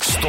Stå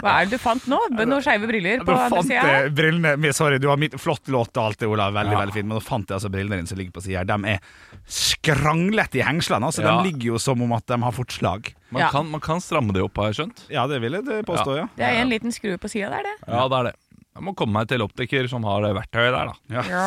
Hva er det du fant nå? Med Noen skeive briller på Men andre fant sida? jeg brillene men Sorry, du har mitt flott låt og alt det, Olav. Veldig, veldig fint. Men nå fant jeg altså brillene dine som ligger på sida her. De er skranglete i hengslene. Altså. Ja. De ligger jo som om at de har fått slag. Man, Ja. kan, man kan stramme det opp, har jeg skjønt. Ja, det vil jeg det påstå, ja. Det er en liten skrue på sida der, det. Ja, det er det. Jeg må komme meg til optiker som har det verktøyet der, da.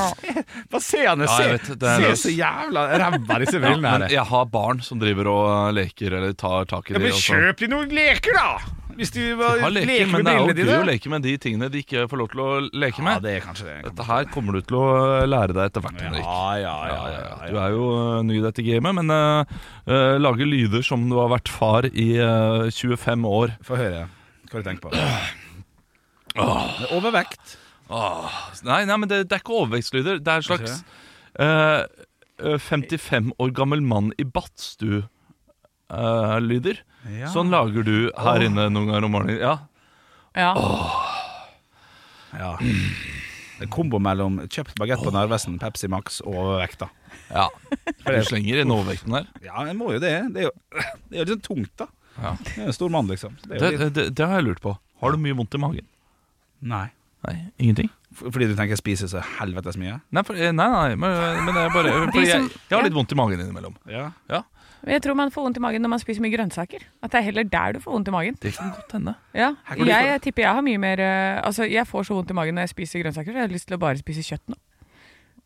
Hva ser han? Ja, Se, jeg vet, det er se så jævla ræva disse Ja, brillene men her. jeg har barn som driver og eh, leker eller tar tak i Ja, de. men og sånn. kjøp deg noen leker, da! Hvis du De bare har leker, leker med men det er brillene jo gøy å dine. leke med de tingene de ikke får lov til å leke Ja, med. det er kanskje det. Dette her kommer du til å eh, lære deg etter hvert, Henrik. Ja, ja, ja, Ja, ja, ja. Du ja. er jo eh, ny i dette gamet, men eh, eh, lager lyder som du har vært far i eh, 25 år. Få høre. Hva har du tenkt på? Det er overvekt. Nei, nei men det, det er ikke overvekstlyder. Det er en slags eh, eh, 55 år gammel mann i badstue-lyder. Ja. Sånn lager du her inne noen ganger om morgenen. Ja, Ja. Ja. En kombo mellom kjøpt bagett på Narvesen, Pepsi Max og overvekt, da. ja. Du det- slenger inn overvekten der. Ja, jeg må jo det. Det er jo, det er jo litt sånn tungt, da. Ja. Jeg er en stor mann, liksom. Så Det er Det, jo det, litt... det, det har jeg lurt på. Har du mye vondt i magen? Nei. Nei, ingenting? F- Fordi du tenker jeg spiser så helvetes mye? Nei, for, eh, nei, nei men, men det er bare fordi jeg, som- jeg har litt vondt i magen innimellom. Ja. Men jeg tror man får vondt i magen når man spiser mye grønnsaker. At det er heller der du får vondt i magen. Det kan godt hende. Ja. Her kan Jeg, du- tipper jeg har mye mer eh, Altså, jeg får så vondt i magen når jeg spiser grønnsaker, så jeg har lyst til å bare spise kjøtt nå.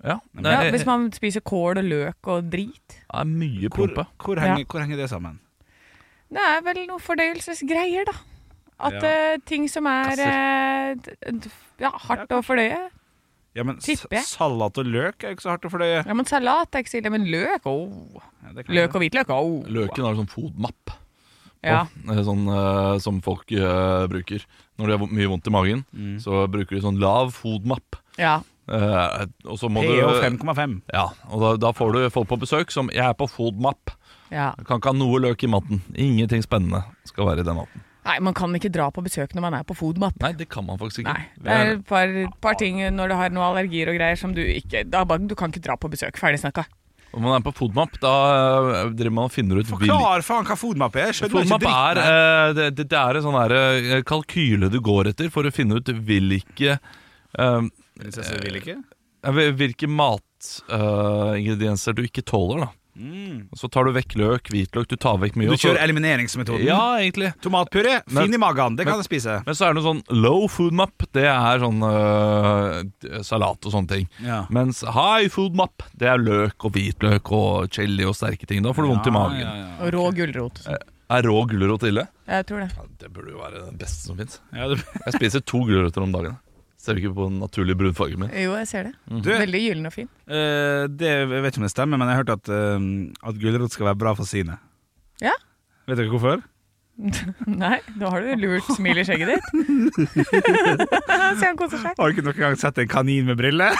Ja, det Ja, er, hvis man spiser kål og løk og drit. det er mye Hvor, prompe. hvor, henger, hvor henger det sammen? Det er vel noe fordøyelsesgreier, da. At Ja. eh, ting som er eh, d- d- ja, hardt å fordøye. Ja, men s- Tipper jeg. Salat og løk er jo ikke så hardt å fordøye. Ja, men Salat er ikke så ille, men løk oh. Ja, det kan Løk jeg. og hvitløk oh. Løken har sånn fodmapp på, Ja. eh, sånn, eh, som folk eh, bruker. Når de har vo- mye vondt i magen, Mm. Mm. så bruker de sånn lav fodmapp. ja. Eh, og så må du PH 5,5. Ja, og da, da får du folk på besøk som 'jeg er på fodmapp'. ja. Jeg Kan ikke ha noe løk i maten. Ingenting spennende skal være i den maten. Nei, man kan ikke dra på besøk når man er på Foodmap. Nei, det kan man faktisk ikke. Nei, Det er et par, par ting når du har noen allergier og greier som du ikke da, bare- Du kan ikke dra på besøk. Ferdig snakka. Når man er på fodmapp, da eh, driver man og finner ut hvil- Forklar faen hva fodmap er! Jeg Skjønner ikke Fodmap er, dritten. her. eh, det, det det er en sånn der, eh, kalkyle du går etter for å finne ut hvilke eh, Prinsesse vil ikke? hvil- Hvilke matingredienser du ikke tåler. da Mm. Så tar du vekk løk, hvitløk, du tar vekk mye. Du og så- kjører elimineringsmetoden? Ja, egentlig. Tomatpuré? Men- Fin i magen, det kan men- jeg spise. Men så er det noe sånn low food map. Det er sånn øh, salat og sånne ting. Ja. Mens high food map, det er løk og hvitløk og chili og sterke ting. Da får du vondt i magen. Ja, ja, ja. Og rå gulrot. Er rå gulrot ille? Jeg tror det. det burde jo være den beste som fins. Ja, du... Jeg spiser to gulrøtter om dagen. Ser du ikke på den naturlige brunfargen min? Jo, jeg ser det. Mhm. Du, Veldig gyllen og fin. Eh, det, jeg vet ikke om det stemmer, men jeg har hørt at, eh, at gulrot skal være bra for synet. Ja. Vet dere hvorfor? Nei, da har du lurt smil i skjegget ditt. Se, han koser seg. Har du ikke noen gang sett en kanin med briller?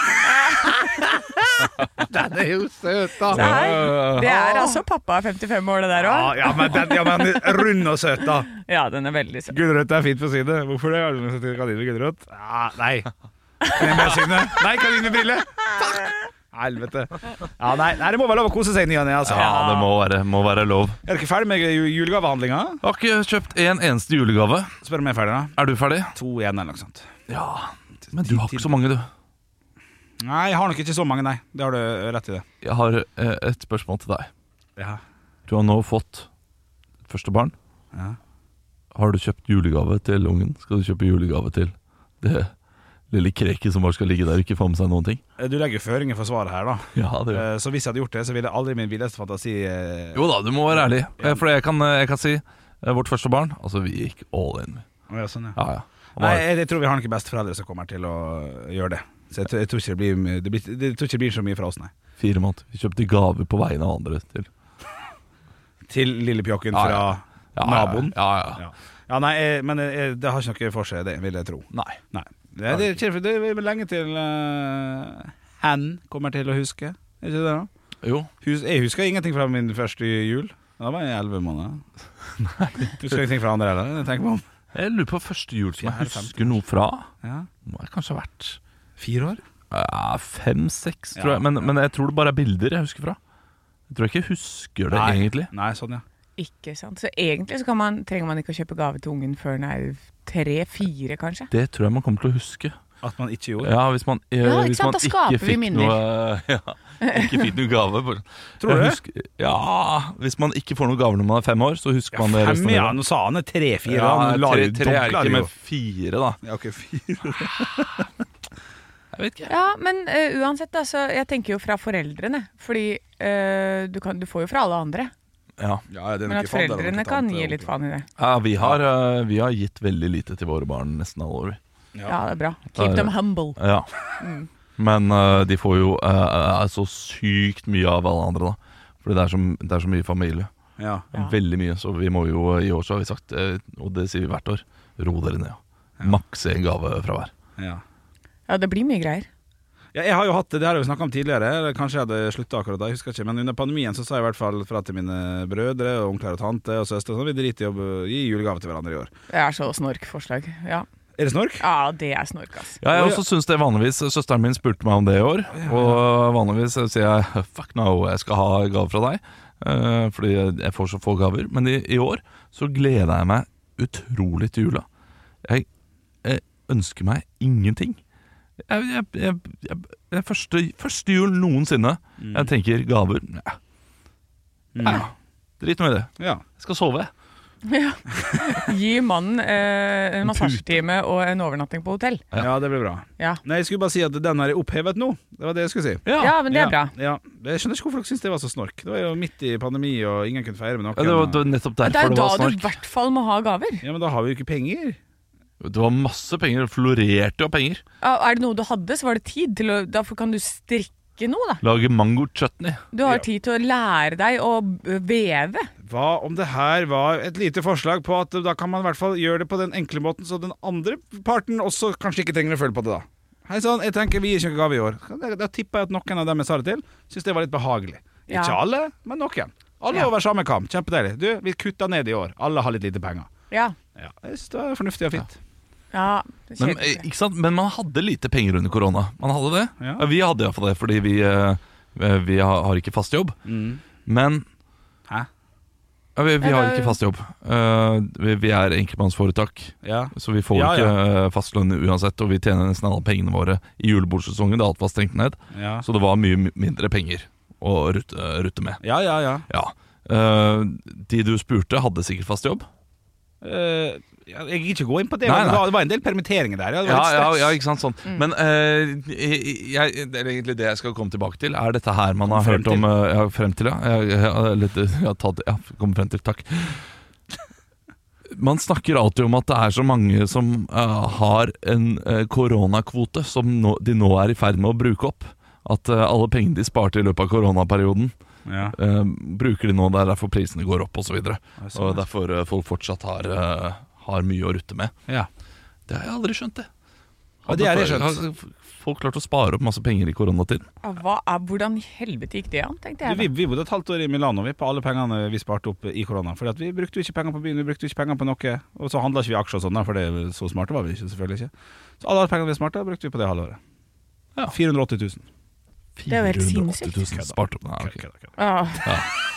den er jo søt, Se da! her. Det er altså pappa 55 år, det der Ja, òg. ja, men den ja, men rund og søt, da. Ja, den er veldig søt. Gulrøtt er fint for synet. Hvorfor det? Har du sett en kanin med gulrot? Ja, nei. Kanin med synet? Nei, kanin med briller! Fuck! Helvete. Ja, nei, nei, det må være lov å kose seg i ny og ne, altså. Ja, det må være, må være lov. Er dere ferdig med ju- julegavehandlinga? Jeg har ikke kjøpt en eneste julegave. Spør om jeg er ferdig, da. Er du ferdig? To igjen, eller noe sånt. Ja. Men du har ikke så mange, du. Nei, jeg har nok ikke så mange, nei. Det har du rett i det. Jeg har eh, et spørsmål til deg. Ja. Du har nå fått et første barn. Ja. Har du kjøpt julegave til ungen? Skal du kjøpe julegave til det lille kreket som bare skal ligge der og ikke få med seg noen ting? Eh, Du legger jo føringer for svaret her, da. Ja, det gjør jeg. Eh, Så hvis jeg hadde gjort det, så ville aldri min villeste fantasi eh, Jo da, du må være ærlig. Eh, For jeg kan, jeg kan si eh, vårt første barn Altså, vi gikk all in. Ja, sånn, ja. Ja, ja. Han Nei, var- jeg, jeg tror vi har noen besteforeldre som kommer til å gjøre det. Så jeg, tror- jeg, tror ikke det blir, mye- det blir, det- jeg tror ikke det blir så mye fra oss, nei. fire måneder. Vi kjøpte gaver på vegne av andre til Til lille pjokken Ja, fra ja. Ja, ja, naboen. Ja, ja. ja. Ja. ja, nei, eh, men eh, det har ikke noe for seg, det vil jeg tro. Nei. Nei. Det, det, er ikke- det er vel lenge til eh, hen kommer til å huske. Er ikke det da? Jo. Hus, jeg husker ingenting fra min første jul. Da var jeg elleve måneder. Du husker ingenting fra andre heller? Tenk på om. Jeg lurer på første jul som jeg Fjerde, husker noe fra. Ja. Må jeg kanskje ha vært Fire år? ja, fem-seks, tror Ja, jeg. Men, men jeg tror det bare er bilder jeg husker fra. Jeg tror jeg ikke husker det, egentlig. Nei, sånn, ja. Ikke sant. Så egentlig så kan man, trenger man ikke å kjøpe gave til ungen før den er tre-fire, kanskje. Det tror jeg man kommer til å huske. At man ikke gjorde. Ja, Hvis man, eh, Ja, ikke hvis sant, man da skaper vi ikke fikk minner. noe ja, Ikke fikk noe gave. bare- Tror du Jeg det? husker, ja, Hvis man ikke får noen gaver når man er fem år, så husker man det resten av Fem, ja. livet. Nå sa han det tre-fire. Ja, han la tre, ut tre er donkler, ikke jo. med fire, da. Ja, ok, fire. Jeg vet ikke. Ja, men eh, uansett, altså. Jeg tenker jo fra foreldrene. Fordi eh, du, kan, du får jo fra alle andre. Ja, Ja, den er Men at ikke faen, det var foreldrene ikke kan tante, gi onkel. litt faen i det. ja vi, har, eh, vi har gitt veldig lite til våre barn nesten alle år. vi. Ja, det er bra. Ja, Keep them ja. humble. Mm. Ja. Men eh, de får jo eh, eh, så sykt mye av alle andre, da. Fordi det er så, det er så mye familie. Ja. Ja. Veldig mye. Så vi må jo i år så har vi sagt, eh, og det sier vi hvert år, ro dere ned. Ja. Maks én gave fra hver. Ja. Ja, det blir mye greier. Ja, jeg har jo hatt det, det har jeg jo snakka om tidligere. Eller kanskje jeg hadde slutta akkurat da, jeg husker ikke. Men under pandemien så sa jeg i hvert fall fra til mine brødre og onkler og tante og søstre sånn, vi driter i å b- gi julegave til hverandre i år. Det er så snorkforslag. Ja. Er det snork? ja, det er snork, ass. Ja, jeg Oi, også synes det vanligvis Søsteren min spurte meg om det i år, og vanligvis så sier jeg fuck no, jeg skal ha gave fra deg. eh, Fordi jeg får så få gaver. Men i, i år så gleder jeg meg utrolig til jula. Jeg, jeg ønsker meg ingenting. Jeg, jeg, jeg, jeg, det er første, første jul noensinne jeg tenker gaver. Ja, ja, Drit nå i det. Ja. Mm. Jeg skal sove. Ja. Gi mannen eh, en En pute. massasjetime og en overnatting på hotell. Ja. ja, det blir bra. Ja, Nei, jeg skulle bare si at den har jeg opphevet nå. Det var det jeg skulle si. ja men det er bra. Ja, ja. Jeg skjønner ikke hvorfor dere syns det var så snork. Det var jo midt i pandemi, og ingen kunne feire med noen. Ja, det, var, det var nettopp Men Det er derfor jo det da var du i snork. hvert fall må ha gaver. Ja, men da har vi jo ikke penger. Det var masse penger. Det florerte jo av penger. Ja, Er det noe du hadde, så var det tid til å Derfor kan du strikke noe, da. Lage mango-chutney. Du har tid til å lære deg å b- veve. Hva om det her var et lite forslag på at da kan man i hvert fall gjøre det på den enkle måten, så den andre parten også kanskje ikke trenger å føle på det, da. Hei sann, jeg tenker vi gir ikke noen gave i år. Da- Da tipper jeg at noen av dem jeg sa det til, syns det var litt behagelig. Ja. Ikke alle, men noen. Alle Ja. over samme kam. Kjempedeilig. Du, vi kutter ned i år. Alle har litt lite penger. Ja. Ja, jeg synes det er fornuftig og fint. ja Men, kjedelig. eh, ikke sant? Men man hadde lite penger under korona. Man hadde det. Ja. Ja. Vi hadde iallfall det, fordi vi, eh, vi har har ikke fast jobb. Mm. Men Hæ? ja, vi, vi Ja, har det er- ikke fast jobb. Eh, vi, vi er enkeltmannsforetak, Ja. så vi får Ja, ikke eh, fastlønn uansett. Og vi tjener nesten alle pengene våre i julebordsesongen, da alt var stengt ned. Ja. Så det var mye mi- mindre penger å rutte, rutte med. ja, ja, ja. Ja. Eh, de du spurte, hadde sikkert fast jobb. Eh, jeg vil ikke gå inn på det, Nei, men det nei. var- det var en del permitteringer der. Ja, det Ja, var litt ja, stress. Mm. ja, ikke sant, sånn Men eh, jeg, jeg, det er egentlig det jeg skal komme tilbake til Er dette her man har Frem hørt om eh, ja, Frem til, ja jeg, jeg, jeg, litt, jeg, har tatt- ja, kom frem til, takk Man snakker alltid om at det er så mange som eh, har en eh, koronakvote Som nå, de nå er i ferd med å bruke opp At eh, alle pengene de sparte i løpet av koronaperioden Ja. eh, Bruker de nå, det er derfor prisene går opp og så videre sånn, Og derfor eh, folk fortsatt har, eh, har mye å rutte med ja. det har jeg aldri skjønt, det. Ja, det har jeg skjønt. Har folk klart å spare opp masse penger i koronatiden? Ja, Hva er, hvordan i helvete gikk det an, tenkte Du, vi, jeg. da. vi bodde et halvt år i Milano vi, på alle pengene vi sparte opp i korona. Fordi at vi brukte jo ikke penger på byen, vi brukte jo ikke penger på noe. Og så handla ikke vi aksjer og sånn, da, for det, så smarte var vi ikke, selvfølgelig ikke. Så alle pengene vi sparte, brukte vi på det halve året. Ja. 480 000. Det er jo helt 480 000 sinnssykt. Spart opp. Nei, ok. Ja.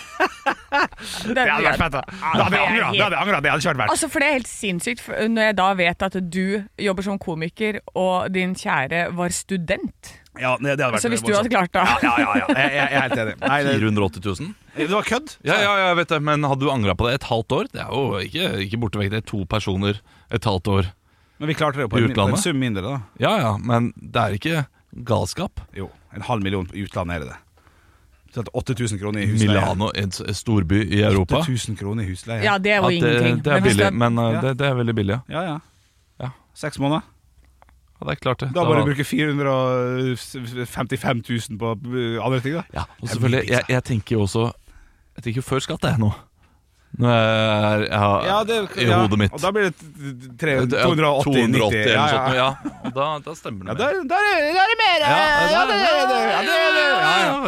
Det er- fett, da. Da hadde jeg angret, da hadde jeg angra. Det hadde ikke vært Altså, for det er helt sinnssykt for når jeg da vet at du jobber som komiker, og din kjære var student. Ja, det hadde vært Så Altså, hvis du hadde klart det Ja, ja, ja. Jeg, jeg er helt enig. Nei, det, 480 000? det var kødd. Ja, ja, jeg vet det, men hadde du angra på det et halvt år? Det er jo ikke, ikke borte vekk, det er to personer et halvt år. Men vi klarte det jo på I en, på utlandet? en sum mindre, da. Ja ja, men det er ikke galskap. Jo, en halv million i utlandet er det det. Så at 8000 kroner i husleie. Milano, en s- storby i Europa. 8000 kroner i husleie. Ja, det er jo At eh, det, ingenting. det er Men hvis billig, det- men uh, Ja. det, det er veldig billig, ja. ja. ja. Ja. Seks måneder. ja det er klart, det. Da Det må var- du bruke 455 000 på uh, andre ting, da. ja, og selvfølgelig, jeg, jeg tenker jo også Jeg tenker jo før skatt, jeg nå. Når jeg er, jeg har, Ja, det- i ja, hodet mitt. Og da blir det t- tre- Ja, 280 eller noe sånt 90, ja, ja. noe, ja. Og Da, da stemmer det. Ja, mer. der, der, er- der er det mer! Ja, Ja, ja, det- det- det- ja, det- det- ja,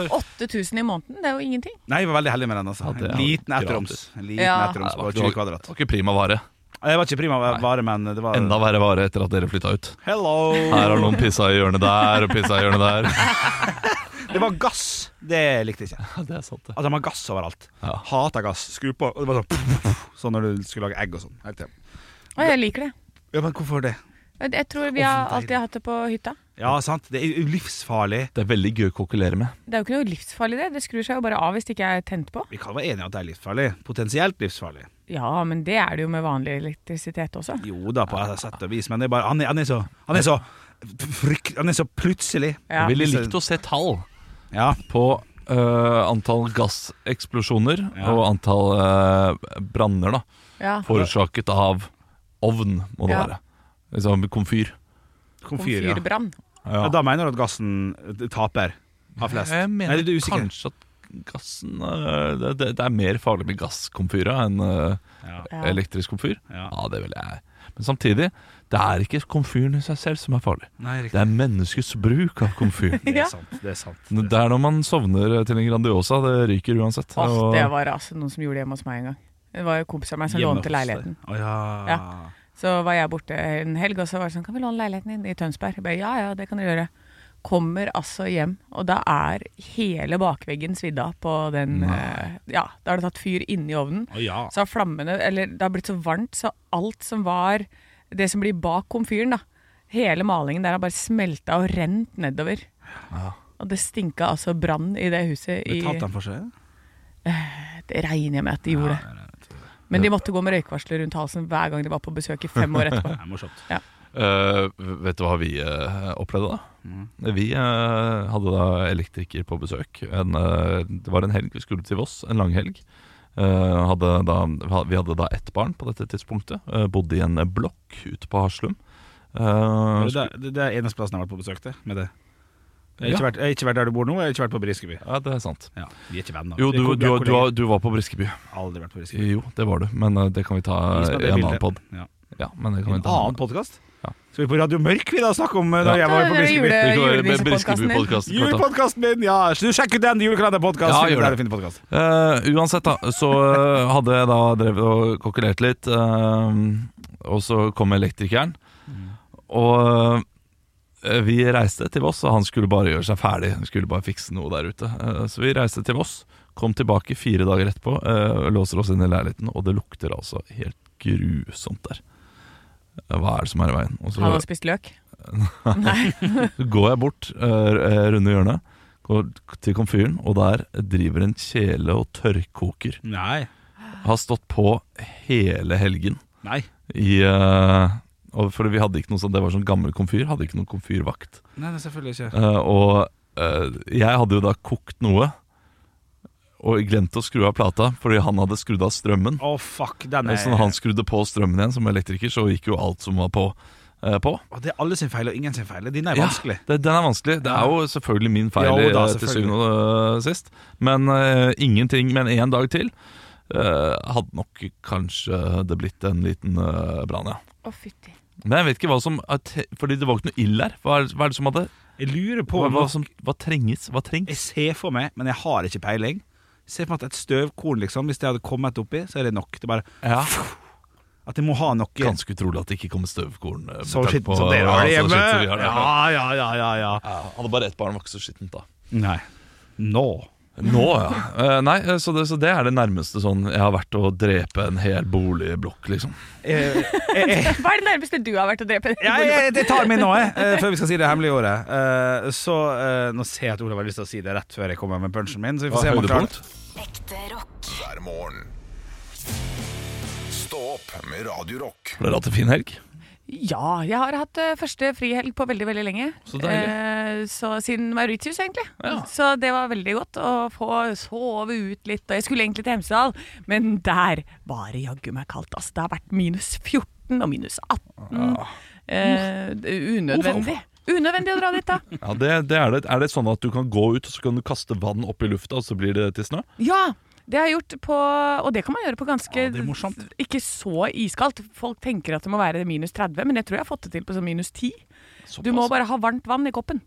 ja. 8000 i måneden, det er jo ingenting. Nei, jeg var veldig heldig med den. altså Ja, det er En Liten etteroms. gratis. En Liten Ja. etteroms på Nei, det var- 20 liksom kvadrat. Det var ikke prima vare. Jeg var ikke prima vare, men det var Enda verre vare etter at dere flytta ut. Hello! Her har noen pissa i hjørnet der og pissa i hjørnet der. Det var gass! Det likte jeg ikke. Ja, det er sant, det. At de har gass overalt. Ja. Hata gass. Skru på og det var sånn, sånn når du skulle lage egg og sånn. Helt til. Og jeg liker det. Ja, men hvorfor det? Jeg- Jeg tror vi har alltid hatt det på hytta. Ja, sant. Det er jo livsfarlig. Det er veldig gøy å kokkelere med. Det er jo ikke noe livsfarlig, det. Det skrur seg jo bare av hvis det ikke er tent på. Vi kan være enige om at det er livsfarlig. Potensielt livsfarlig. Ja, men det er det jo med vanlig elektrisitet også. Jo da, på et sett og vis, men det er bare Han er, han er så Han er så frykt... Han er så plutselig. Ja. Jeg ville likt å se tall Ja. på øh, antall gasseksplosjoner Ja. og antall øh, branner da, Ja. forårsaket av ovn, må det Ja. være. Liksom komfyr. Komfyr, ja. Komfyrbrann. Ja, Da mener du at gassen eh, taper av flest? Jeg mener Eller du er usikker? kanskje at gassen øh, det, det, det er mer farlig med gasskomfyra enn øh, Ja. Ja. elektrisk komfyr. Ja. Ja, det vil jeg. Men samtidig, det er ikke komfyren i seg selv som er farlig. Nei, Det riktig. er menneskets bruk av komfyr. Det Ja. er sant. Det er sant. Det er når man sovner til en Grandiosa, det ryker uansett. Åh, Og- det var altså noen som gjorde det hjemme hos meg en gang. Det var en kompis av meg som Hjemme lånte hos deg. leiligheten. Å ja. Ja. Så var jeg borte en helg, og så var det sånn Kan vi låne leiligheten din i Tønsberg? Jeg bare, ja ja, det kan dere gjøre. Kommer altså hjem, og da er hele bakveggen svidd av på den eh, Ja, da har det tatt fyr inni ovnen. Å ja. Så har flammene Eller det har blitt så varmt, så alt som var Det som blir bak komfyren, da. Hele malingen der har bare smelta og rent nedover. Og det stinka altså brann i det huset. I, Betalte han for seg? det regner jeg med at de gjorde. Men de måtte gå med røykvarsler rundt halsen hver gang de var på besøk i fem år etterpå. Det er morsomt. Eh, vet du hva vi eh, opplevde da? Mm. Vi eh, hadde da elektriker på besøk. En, eh, det var en helg, vi skulle til Voss, en lang helg. Eh, hadde da, vi hadde da ett barn på dette tidspunktet. eh, bodde i en blokk ute på Haslum. Eh, Det, er- det, det er eneste plassen jeg har vært på besøk til. Med det. Jeg, har ikke Ja. vært, jeg har ikke vært der du bor nå, jeg har ikke vært på Briskeby. ja, det er sant. Ja, Vi er ikke venner. Jo, Vi er du, kollegaer. du, du, du var på Briskeby. Aldri vært på Briskeby. Jo, det var du, men eh, det kan vi ta Vis i meg det en bildet. annen pod. Ja. Ja, men det En kan vi ta annen podkast? Ja. Skal vi på Radio Mørk vi da snakke om eh, da Ja. jeg var Da er på det Briskeby? jule- Det kan være Julenisepodkasten din. Briskeby-podkasten. kort da. Julepodkasten min! Ja, så du sjekk ut den julekalenderpodkasten. Ja, gjør der det. du finner podcast. Eh, uansett, da, så eh, hadde jeg da drevet og kokkelert litt, eh, og så kom elektrikeren. Og eh, vi reiste til Voss, og han skulle bare gjøre seg ferdig. Han skulle bare fikse noe der ute. Eh, så vi reiste til Voss, kom tilbake fire dager etterpå, eh, låser oss inn i leiligheten, og det lukter altså helt grusomt der. Eh, Hva er det som er i veien? Og Han så har spist løk. så går jeg bort uh, runde hjørnet, går til komfyren, og der driver en kjele og tørrkoker Nei. har stått på hele helgen Nei. i eh, og Fordi vi hadde ikke noe sånn, det var sånn gammel komfyr, hadde ikke noen komfyrvakt. Nei, det er selvfølgelig ikke. Eh, og eh, jeg hadde jo da kokt noe og glemt å skru av plata fordi han hadde skrudd av strømmen. Å, fuck. Den Og er så når han skrudde på strømmen igjen som elektriker, så gikk jo alt som var på. eh, på. Å, Det er alle sin feil og ingen sin feil. Din er Ja, vanskelig. det, den er vanskelig. Det er jo selvfølgelig min feil Jo da, eh, til selvfølgelig. syvende og eh, sist. Men eh, ingenting. Men én dag til eh, hadde nok kanskje det blitt en liten eh, brann, ja. Å, fytti. Men jeg vet ikke hva som at, Fordi det var ikke noe ild her. Hva er, hva er det som hadde Jeg lurer på hva, om hva, som, hva trenges? Hva trengs? Jeg ser for meg, men jeg har ikke peiling. Se for meg at et støvkorn, liksom, hvis det hadde kommet oppi, så er det nok. Det er bare Ja, at jeg må ha noe Ganske utrolig at det ikke kommer støvkorn. eh, med så tanke skitten på- som dere har ja, det så hjemme. skitten som vi har det. Ja, ja, ja, ja, ja. Ja, Hadde bare ett barn, var ikke så skittent da. Nei. Nå. Nå, ja. Eh, nei, eh, så det, så det er det nærmeste sånn jeg har vært å drepe en hel boligblokk, liksom. Eh, eh, eh, Hva er det nærmeste du har vært å drepe? Ja, jeg, jeg tar min nå, jeg, eh, før vi skal si det hemmelige året. Eh, så eh, Nå ser jeg at Olav har lyst til å si det rett før jeg kommer med punchen min. Så vi får se om han klarer det. høydepunkt. Ekte rock. hver morgen. Stå opp med Radio Rock. Har dere hatt en fin helg? ja, jeg har hatt eh, første frihelg på veldig, veldig lenge. Så deilig. Eh, så siden Mauritius, egentlig. Ja. Så det var veldig godt å få sove ut litt. Og jeg skulle egentlig til Hemsedal, men der var det jaggu meg kaldt. Altså, det har vært minus 14 og minus 18. Eh, det er unødvendig. Unødvendig å dra dit, da. Ja, det, det er det. Er det sånn at du kan gå ut og så kan du kaste vann opp i lufta, og så blir det til snø? Ja! Det har jeg gjort på Og det kan man gjøre på ganske Ja, det er morsomt. Ikke så iskaldt. Folk tenker at det må være minus 30, men jeg tror jeg har fått det til på sånn minus 10. Du må bare ha varmt vann i koppen.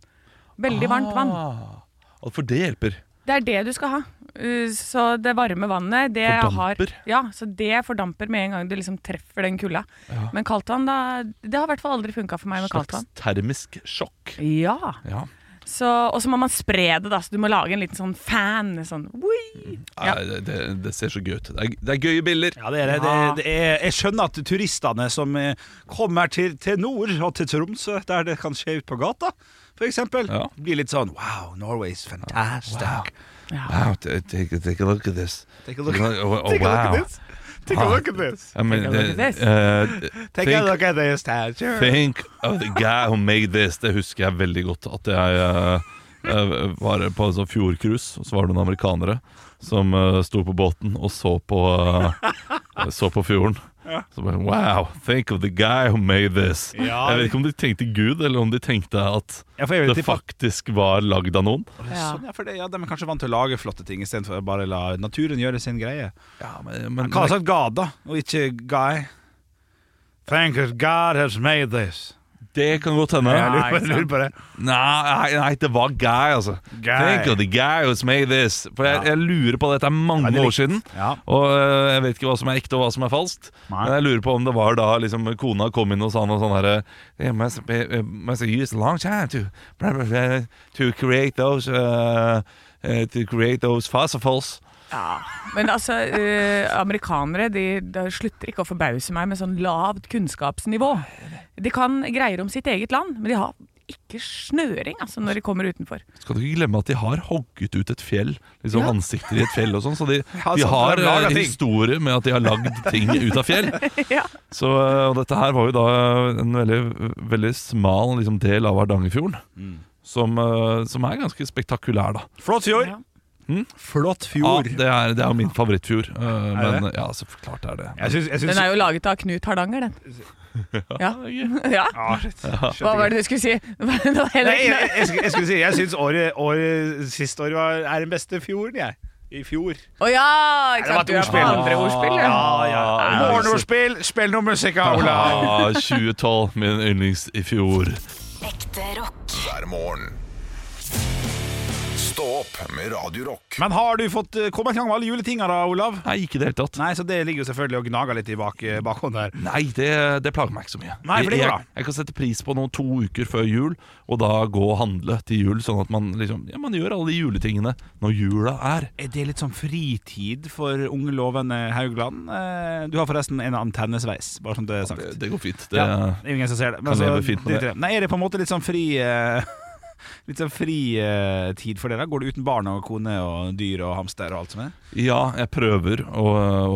Veldig varmt vann. Ah, for det hjelper. Det er det du skal ha. Uh, Så det varme vannet det Fordamper. Har, ja, så det fordamper med en gang du liksom treffer den kulda. Ja. Men kaldtvann, da Det har i hvert fall aldri funka for meg med Slags kaldtvann. termisk sjokk. Ja. Ja. Så, og så må man spre det, da. Så du må lage en liten sånn fan. Sånn, «Wii!» Ja. Nei, Det, det, det ser så gøy ut. Det er, det er gøye bilder. Ja, det er det. det, Ja. det er, jeg skjønner at turistene som eh, kommer til, til nord og til Tromsø, der det kan skje ut på gata, for eksempel, Ja. blir litt sånn Wow, Norway's fantastic. Ja. Wow, t- take, take a look at this. Take a look, Take a look- oh, take a look wow. at this. Take a look at this. I mean, Take a look at eh, this. eh, Take a think- look at this statue. Think of the guy who made this. Det husker jeg veldig godt. At jeg eh, eh, var på en sånn fjordcruise, og så var det noen amerikanere som eh, sto på båten og så på, eh, så på fjorden. Så bare, wow, think of the guy who made this. Ja. Jeg vet ikke om de tenkte Gud, eller om de tenkte at Ja, for jeg vil det tippe at- faktisk var lagd av noen. Ja. Sånn, ja, for det, ja, de er kanskje vant til å lage flotte ting istedenfor å bare la naturen gjøre sin greie. Ja, men, men, Hva har sagt Gada, og ikke Guy? Thank God has made this. det kan godt hende. Jeg lurer på, jeg Nei, lurer på det. nei, nei, det var guy, altså. Guy. Think of the guy who's made this. For jeg, Ja. jeg lurer på dette er mange Ja, det er år siden. riktig. Ja. Og øh, jeg vet ikke hva som er ekte og hva som er falskt. Nei. Men jeg lurer på om det var da liksom, kona kom inn og sa noe sånn herre It must, be, it must use a long time to, blah, blah, blah, to create those uh, uh, To create those fossils. Ja. Men altså, eh, amerikanere de, de slutter ikke å forbause meg med sånn lavt kunnskapsnivå. De kan greier om sitt eget land, men de har ikke snøring altså, når de kommer utenfor. Skal du ikke glemme at de har hogget ut et fjell? Liksom Ja. Ansikter i et fjell og sånn. Så de, Ja, de sånn, har de har laget eh, ting. historie med at de har lagd ting ut av fjell. Ja. Så øh, og dette her var jo da en veldig, veldig smal liksom, del av Hardangerfjorden. Som, øh, som er ganske spektakulær, da. Flott fjord. Ah, Ja. Flott Ja, fjord. det er, det er jo min favorittfjord. øh, det? men ja, så klart er det. Jeg syns, jeg syns Den er jo laget av Knut Hardanger, den. Ja. ja. Ah, shit. Hva var det du skulle si? Det var- det var heller Nei, jeg, ikke- jeg, skulle- jeg skulle si Jeg syns året, året sist år var, er den beste fjorden, jeg. I fjor. Å ja! Ikke det sant? var et Du er på ordspill. andre ordspill, ja. ja. Morgenordspill, spill noe musikk, Olav. Ah, 2012, min yndlings i fjor. Ekte rock. hver morgen. Stå opp med Radio Rock. Men har du fått eh, kommet i gang med alle juletinga, da, Olav? Nei, ikke i det hele tatt. Nei, så det ligger jo selvfølgelig og gnager litt i bak, bakhånd her. Nei, det, det plager meg ikke så mye. Nei, for det går jeg, bra. jeg, jeg kan sette pris på noen to uker før jul, og da gå og handle til jul. Sånn at man liksom Ja, man gjør alle de juletingene når jula er. Er det litt sånn fritid for unge lovende Haugland? Eh, Du har forresten en antennesveis, bare sånn det er sagt. Det, det går fint. Det, Ja, det er jo ingen som ser det. Men Kan altså, leve fint med drit i Nei, er det på en måte litt sånn fri eh, Litt sånn fri eh, tid for dere? Går du uten barn og kone og dyr og hamster og alt som er? Ja, jeg prøver å,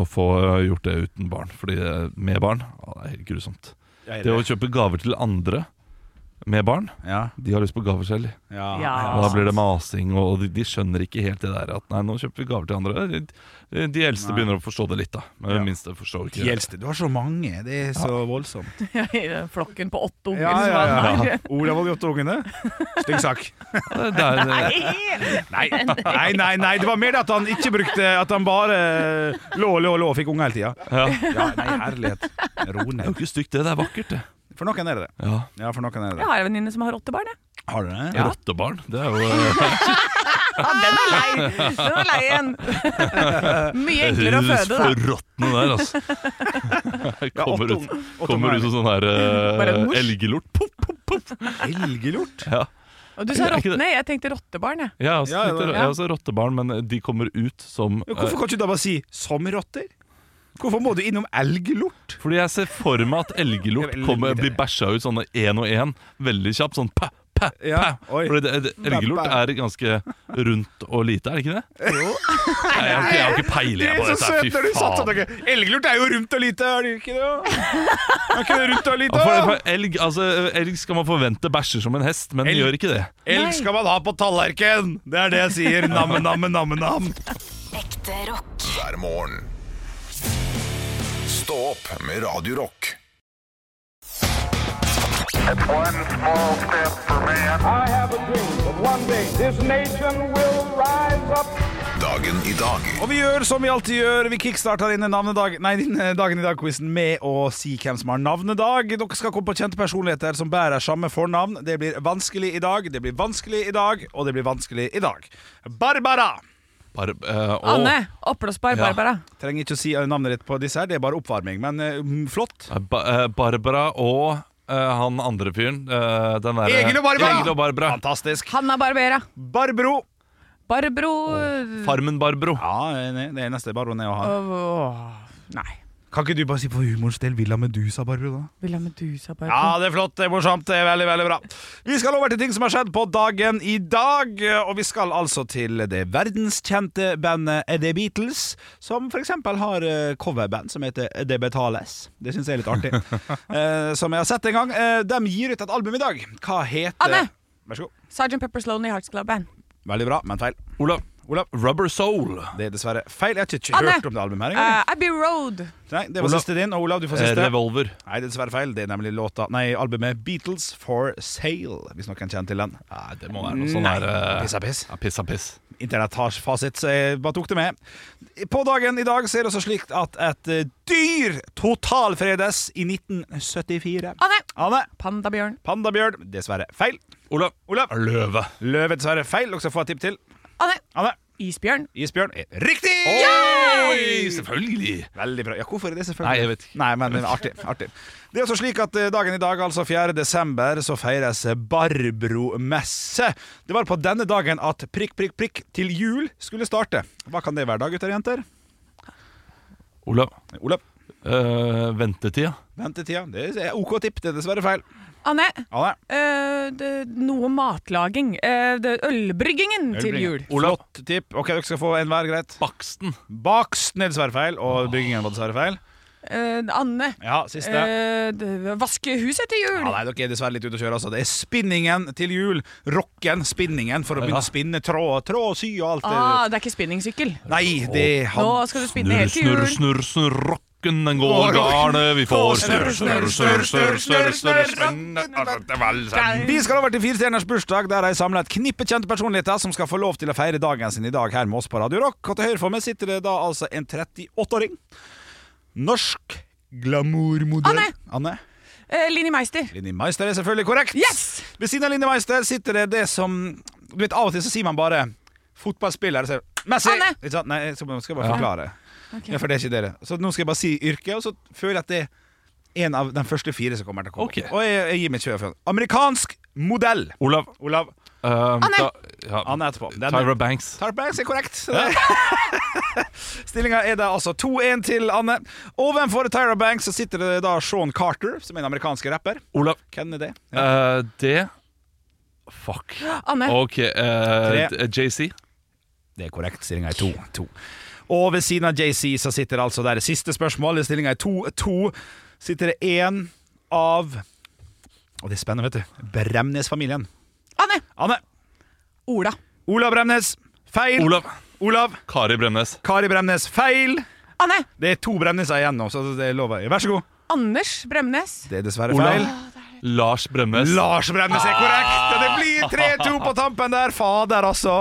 å få gjort det uten barn. Fordi med barn å, Det er helt grusomt. Ja, er Det å kjøpe gaver til andre med barn ja, De har lyst på gaver selv. ja, Ja. Og da blir det masing, og de, de skjønner ikke helt det der at nei, nå kjøper vi gaver til andre. De, de eldste Nei. begynner å forstå det litt, da. Men Ja. de minste forstår ikke De eldste. Du har så mange, det er så voldsomt. I Flokken på åtte unger. Ja, som ja, var- ja. Olav og de åtte ungene. Stygg sak. Ja, det er, Nei. nei, nei, nei. Det var mer det at han ikke brukte At han bare eh, lå, lå, lå og fikk unge hele tida. ja. Ja, nei, herlighet. Ro det er jo ned. ikke stygt, det. Det er vakkert, det. For noen er det det. Ja. Ja, for noen er Jeg det det. har en venninne som har åtte barn. jeg. Har du det? Rottebarn. Det er jo Ja, den er lei! Den er lei igjen. Mye enklere å føde, da. forråtne eh, der, altså. Kommer åtte ut, unger. Åtte kommer unger. ut som sånn her Bare en uh, mors. elgelort. Puff, puff, puff. Elgelort? Ja. Og du sa Er ikke det- rottene. Jeg tenkte rottebarn, jeg. Jeg har også, Ja, ja, tenkte- ja. altså, jeg har også rottebarn, men de kommer ut som Men Hvorfor eh, kan ikke du da bare si 'som rotter'? Hvorfor må du innom elglort? eh, Fordi jeg ser for meg at elgelort Jeg vil- kommer, blir bæsja ut sånne én og én veldig kjapt. Sånn pa, pa, pa. Ja, oi. Fordi det, det, elgelort Pa, pa. er ganske rundt og lite, er det ikke det? Jo. Nei, jeg har ikke, jeg har ikke peiling jeg på så dette. her, søt når du Fy satt sånn. faen. ok. Elglort er jo rundt og lite, er det ikke det? da? Er ikke det rundt og lite? Ja, For, da? for elg, altså, elg skal man forvente bæsjer som en hest, men Elg. gjør ikke det. Elg skal man ha på tallerken! Det er det jeg sier. Namme, namme, namme, nam. Ekte rock. hver morgen. Stå opp med Radio Rock. One small step for man. I have a dream that one day this nation will rise up Dagen i dag. Og vi gjør som vi alltid gjør, vi kickstarter inn navnedag, nei, din, eh, dagen i dag-quizen med å si hvem som har navnedag. Dere skal komme på kjente personligheter som bærer samme fornavn. Det blir vanskelig i dag, det blir vanskelig i dag, og det blir vanskelig i dag. Barbara! Bar eh, og- Anne, oppblåsbar Ja. Barbara. Trenger ikke å si eh, navnet ditt på disse her, det er bare oppvarming, men eh, mm, flott. Eh, Ba eh, Barbara og eh, han andre fyren. eh, den derre- Egil og Barbara! Egil og Barbara. Fantastisk. Hanna Barbera. Barbro. Barbro Farmen Barbro. Ja, eh, nei, det er neste Barbro ned å ha. Åh, Nei. Kan ikke du bare si for humorens del Villa Medusa, Barbro, da? Vil ha Medusa Barbro? Ja, det er flott, det er morsomt, det er veldig, veldig bra. Vi skal over til ting som har skjedd på dagen i dag, og vi skal altså til det verdenskjente bandet The Beatles, som for eksempel har eh, coverband som heter The Betales. Det synes jeg er litt artig. Eh, som jeg har sett en gang. Eh, De gir ut et album i dag. Hva heter Anne! Vær så god. Sergeant Pepper's Lonely Hearts Club Band. Veldig bra, men feil. Olav. Eh, Olav. Rubber Soul. Det er dessverre feil. Jeg har ikke Anne! hørt om det albumet her engang. Uh, Abbey Road. Nei, det var Olav. siste din, og Olav, du får Eh, siste. revolver. Nei, det er dessverre feil. Det er nemlig låta Nei, albumet Beatles for Sale, hvis noen kjenner til den. Nei, det må være noe sånn her eh, Piss er piss. Ja, piss er piss. Internett har fasit, så jeg bare tok det med. På dagen i dag så er det også slik at et eh, dyr totalfredes i 1974. Anne! Anne. Pandabjørn. Pandabjørn. Dessverre feil. Olav. Olav. Løve. Løve dessverre feil. Dere skal få et tipp til. Anne! Anne. Isbjørn. Isbjørn er riktig! Oi, selvfølgelig! Veldig bra. Ja, hvorfor er det selvfølgelig? Nei, jeg vet ikke. Nei, men men artig. artig. Det er også slik at eh, dagen i dag, altså 4. desember, så feires Barbromesse. Det var på denne dagen at prikk, prikk, prikk til jul skulle starte. Hva kan det være da, gutter og jenter? Olav. Olav? eh, ventetida. Ventetida. Det er OK tipp, det er dessverre feil. Anne! Anne? eh, det, noe matlaging. Eh, det, ølbryggingen til jul. Olav. Flott tipp. Ok, dere skal få en hver, greit. Baksten. Baksten er dessverre feil, og byggingen var dessverre feil. Eh, Anne. Ja, siste. Eh, det- vaske huset til jul. Ja, nei, dere er dessverre litt ute å kjøre. Altså. Det er spinningen til jul. Rocken, spinningen, for å begynne å spinne tråd, tråd, sy og alt det ah, det er ikke spinningsykkel. Nei, det han Nå skal du spinne Snurr, helt til snurr, jul. snurr, snurr, rocken den går garnet vi får. Snurr, snurr, snurr, snurr, snurr, snurr, spinne Vi skal over til Firestjerners bursdag, der de samler et knippe kjente personligheter som skal få lov til å feire dagen sin i dag her med oss på Radio Rock. Og til høyre for meg sitter det da altså en 38-åring. Norsk glamourmodell. Anne. Anne. Eh, Linni Meister. Linni Meister er selvfølgelig korrekt. Yes! Ved siden av Linni Meister sitter det det som Du vet, Av og til så sier man bare fotballspiller. Så, Messi! Anne. Ikke sant? Nei, jeg skal bare skal bare forklare. Ja, for det er ikke dere. Så nå skal jeg bare si yrket, og så føler jeg at det er en av de første fire som kommer til å komme. Ok. Og jeg, jeg gir meg 20 fjøl. Amerikansk modell. Olav. Olav. Um, Anne. ja, Han er etterpå. Den er- Tyra Banks. Tara Banks er korrekt. Stillinga er da altså 2-1 til Anne. Ovenfor Tyra Banks så sitter det da Sean Carter, som er en amerikansk rapper. Olav. Hvem er det? eh, det Fuck. Anne. Ok, Tre. eh, d- eh, JC. Det er korrekt. Stillinga er 2-2. Og ved siden av JC så sitter det altså der det siste spørsmålet. Stillinga er 2-2. Sitter det én av Og det er spennende, vet du. Bremnes-familien. Anne! Anne. Ola. Olav Bremnes. Feil. Olav. Olav. Kari Bremnes. Kari Bremnes. Feil. Anne! Det er to Bremneser igjen nå, så det lover jeg. Vær så god. Anders Bremnes. Det er dessverre Olav. feil. Lars Bremnes. Lars Bremnes er korrekt! og Det blir 3-2 på tampen der. Fader, altså.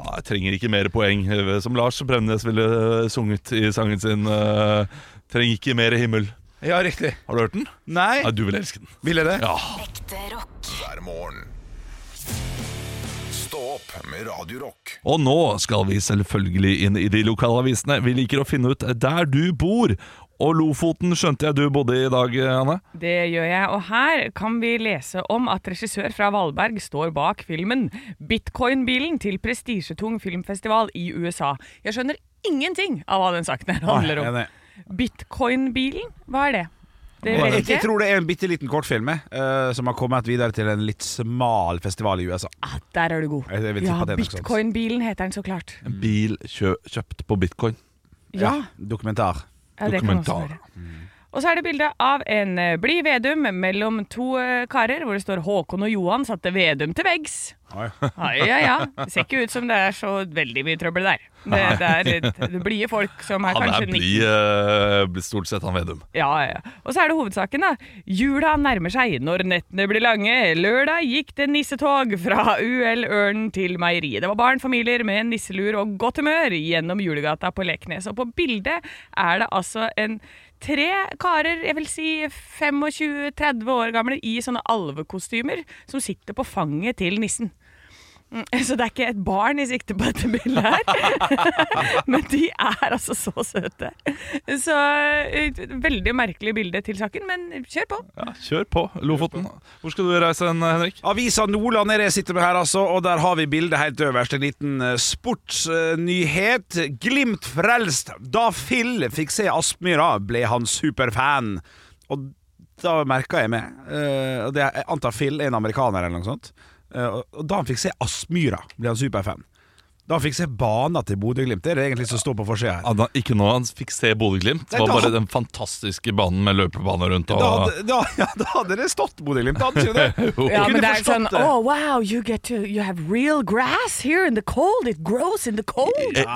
Ah, jeg trenger ikke mer poeng, eh, som Lars Bremnes ville eh, sunget i sangen sin. eh, trenger ikke mer himmel. Ja, riktig. Har du hørt den? Nei, Nei, du vil elske den. ville det? Ja. Ekte rock. hver morgen. Stå opp med Radio Rock. Og nå skal vi selvfølgelig inn i de lokale avisene. Vi liker å finne ut eh, der du bor. Og Lofoten skjønte jeg du bodde i i dag, eh, Anne. Det gjør jeg, og her kan vi lese om at regissør fra Valberg står bak filmen Bitcoin-bilen til prestisjetung filmfestival i USA. Jeg skjønner ingenting av hva den saken her handler om. Nei, jeg, Bitcoin-bilen, hva er det? Det jeg, vet jeg, ikke. tror det er en bitte liten kortfilm jeg, eh, som har kommet videre til en litt smal festival i USA. Ah, der er du god. Jeg- jeg vil tippe Ja, at det er noe sånt. Bitcoin-bilen heter den så klart. En bil kjø kjøpt på bitcoin. Ja, Dokumentar. ja det kan også dokumentar. være. Og så er det bilde av en eh, blid Vedum mellom to eh, karer, hvor det står Håkon og Johan satte Vedum til veggs. Ja, ja, ja. Det ser ikke ut som det er så veldig mye trøbbel der. Det, det er litt- det blide folk som er Han kanskje er nitti- blid, eh, blir stort sett han Vedum. Ja, ja. Og så er det hovedsaken, da. Jula nærmer seg når nettene blir lange. Lørdag gikk det nissetog fra UL Ørnen til meieriet. Det var barn, familier med nisselur og godt humør gjennom julegata på Leknes. Og på bildet er det altså en tre karer, jeg vil si 25-30 år gamle, i sånne alvekostymer som sitter på fanget til nissen. Mm, Så det er ikke et barn i sikte på dette bildet her. Men de er altså så søte. Så eh, veldig merkelig bilde til saken, men kjør på. Ja, kjør på, Lofoten. Hvor skal du reise hen, eh, Henrik? Avisa Nordland er det jeg sitter med her, altså, og der har vi bildet helt øverst. En liten eh, sportsnyhet. Glimt frelst. Da Phil fikk se Aspmyra, ble han superfan. Og da merka jeg meg eh, og det er- Jeg antar Phil er en amerikaner eller noe sånt. Eh, og- og da han fikk se Aspmyra, ble han superfan. Da han fikk se bana til Bodø-Glimt. Det er det egentlig som står på forsida her. Ja, da, ikke nå, han fikk se Bodø-Glimt. Det Nei, var da- bare den fantastiske banen med løpebane rundt. Da Og, hadde, da, ja, da hadde det stått Bodø-Glimt, da hadde ikke det? Jo. Jeg Ja, men kunne det er sånn forstått det. Oh wow, you get to You have real grass here in the cold. It grows in the cold. jeg,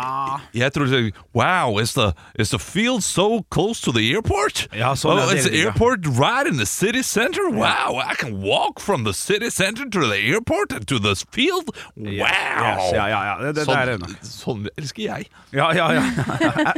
jeg trodde Wow, is the, is the field so close to the airport? Ja, sånn, ja, oh, det It's er det, the ja. airport right in the city center? Wow, I can walk from the city center to the airport and to the field? Wow! Yes, ja, ja, ja. Det, det, det er det nok. sånn, sånn elsker jeg. Ja, ja, ja.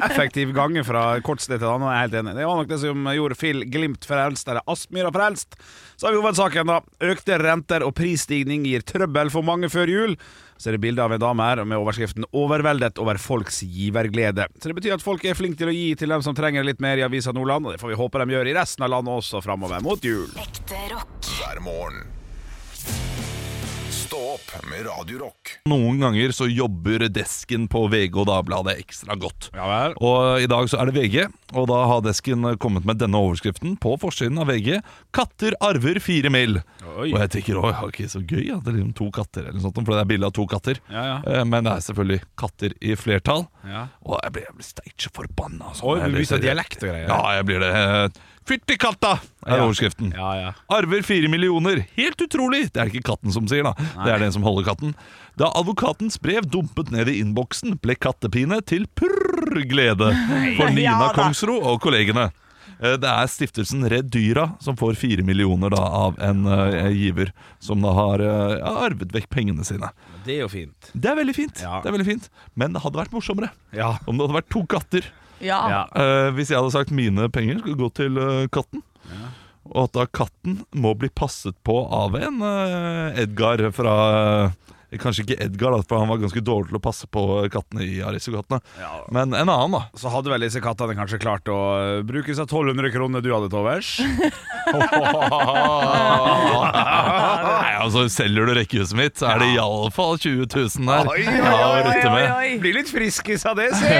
Effektiv gange fra kort sted til annet. Jeg er helt enig. Det var nok det som gjorde Phil Glimt frelst, eller Aspmyra frelst. Så har vi hovedsaken, da. Økte renter og prisstigning gir trøbbel for mange før jul. Så er det bilde av en dame her med overskriften 'Overveldet over folks giverglede'. Så det betyr at folk er flinke til å gi til dem som trenger litt mer i Avisa Nordland, og det får vi håpe de gjør i resten av landet også framover mot jul. Ekte rock. hver morgen. Stå opp med Radio Rock. Noen ganger så jobber desken på VG og Dagbladet ekstra godt. Ja vel. Og i dag så er det VG, og da har desken kommet med denne overskriften på forsiden av VG. 'Katter arver fire mil'. Oi. Og jeg tenker oi, ok, så gøy at det er liksom to katter, eller noe sånt, for det er bilde av to katter. Ja, ja. Eh, Men det er selvfølgelig katter i flertall. Ja. Og jeg blir, jeg blir steikje forbanna. altså. Oi, du Jeg blir- viser dialekt og greier. Ja, jeg blir det. Fytti katta, er overskriften. Ja, ja. Arver fire millioner. Helt utrolig! Det er ikke katten som sier, da. Det er den som holder katten. Da advokatens brev dumpet ned i innboksen, ble kattepine til purr glede for Nina Ja da. Kongsro og kollegene. Eh, Det er stiftelsen Redd Dyra som får fire millioner da, av en eh, giver som da har eh, ja, arvet vekk pengene sine. Det er jo fint. Det er veldig fint, Ja. det er veldig fint. men det hadde vært morsommere Ja. om det hadde vært to katter. Ja. Ja. Eh, hvis jeg hadde sagt mine penger skulle gå til eh, katten, og at da katten må bli passet på av en eh, Edgar fra eh, Kanskje ikke Edgar, da, for han var ganske dårlig til å passe på kattene i Aristogatene. Ja. Men en annen, da. så hadde vel disse kattene kanskje klart å eh, bruke seg 1200 kroner du hadde til overs. Nei, altså Selger du rekkehuset mitt, så er det iallfall 20 000 her. Oi, oi, Ja, å rutte med. oi. Blir litt friskis av det, si!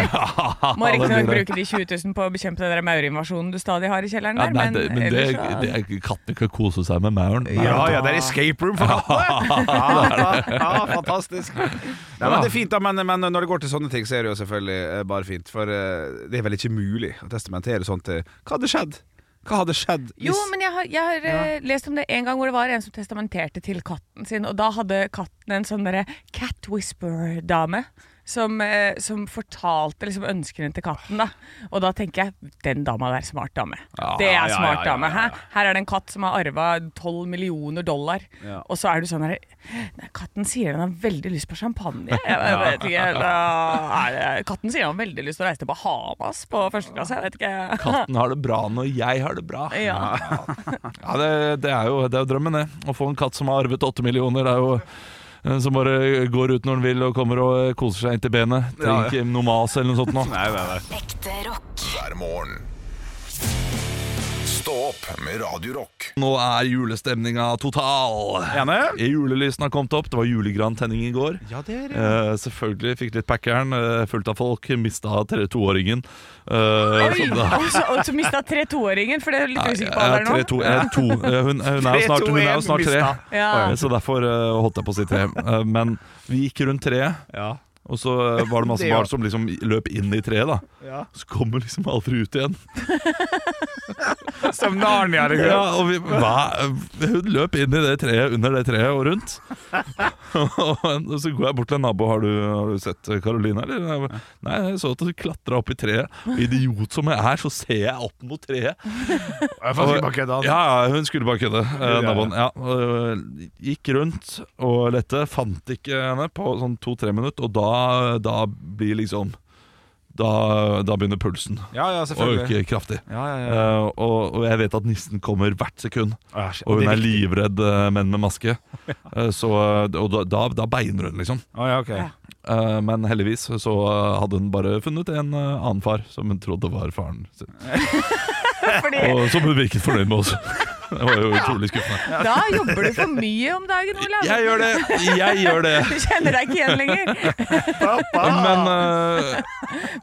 Må det blir riktignok det. bruke de 20 000 på å bekjempe den der maurinvasjonen du stadig har i kjelleren Ja, der, nei, men det, men det, ellers så- det er, katten kan kose seg med mauren. Nei, Ja, ja, det er escape room for kattene! Ja, ja, ja, fantastisk. Nei, men det er fint, da, men, men når det går til sånne ting, så er det jo selvfølgelig eh, bare fint. For eh, det er vel ikke mulig å testamentere sånt til Hva hadde skjedd? Hva hadde skjedd Jo, men jeg har, jeg har eh, lest om det en gang hvor det var en som testamenterte til katten sin, og da hadde katten en sånn derre cat whisperer-dame. Som, eh, som fortalte liksom ønskene til katten. da Og da tenker jeg den dama der, smart dame. det ja, er ja, smart ja, ja, dame. ja, Hæ? Her er det en katt som har arva 12 millioner dollar, Ja. og så er du sånn her Nei, Katten sier den har veldig lyst på champagne. Jeg, jeg vet ikke, da, er det- katten sier den har veldig lyst til å reise til Bahamas på første klasse. Jeg vet ikke. Katten har det bra når jeg har det bra. Ja. Ja, det, det, er jo, det er jo drømmen, det. Å få en katt som har arvet åtte millioner, det er jo eh, som bare går ut når den vil og kommer og eh, koser seg inntil benet. Trenger ikke noe mas eller noe sånt nå. Nei, nei, nei. Ekte rock. hver morgen. Stå opp med Radio Rock. Nå er julestemninga total. Enig? Julelysene har kommet opp. Det var julegrantenning i går. Ja, det er Eh, selvfølgelig fikk litt packeren, eh, fullt av folk. Mista toåringen. Eh, Oi, så da- og så- Og så mista tre toåringer, for det er litt usikker på Ja, alderen tre, nå. to, eh, to. Eh, Hun, hun er jo snart, hun er jo snart tre. Ja. Eh, Så derfor eh, holdt jeg på å si tre. Eh, Men vi gikk rundt treet. Ja. Og så eh, var det masse Det, ja. barn som liksom løp inn i treet, da. Ja. Så kommer liksom aldri ut igjen. Som Narnia, liksom. Ja, og vi, hva? Hun løp inn i det treet, under det treet og rundt. og så går jeg bort til en nabo. Har du, har du sett Karoline, eller? Nei, jeg så at du klatra opp i treet. Og idiot som jeg er, så ser jeg opp mot treet. Jeg får si bare kødda, altså. Ja, ja, hun skulle bare kødde. Eh, naboen. Ja, og, eh, gikk rundt og lette, fant ikke henne på sånn to-tre minutter, og da, da blir liksom da, da begynner pulsen Ja, ja, å selvfølgelig. øke kraftig. Ja, ja, ja. Eh, og, og jeg vet at nissen kommer hvert sekund. Ah, shit. Og hun Det er er viktig. livredd eh, menn med maske. Eh, Så, eh, og da, da- da beiner hun, liksom. Å, ja, ok. Eh, Men heldigvis så eh, hadde hun bare funnet en eh, annen far som hun trodde var faren sin. Fordi Og som hun virket fornøyd med også. Det var jo utrolig skuffende. da jobber du for mye om dagen, Olav. Jeg gjør det! Jeg gjør det! Du kjenner deg ikke igjen lenger. Ah. Men, eh,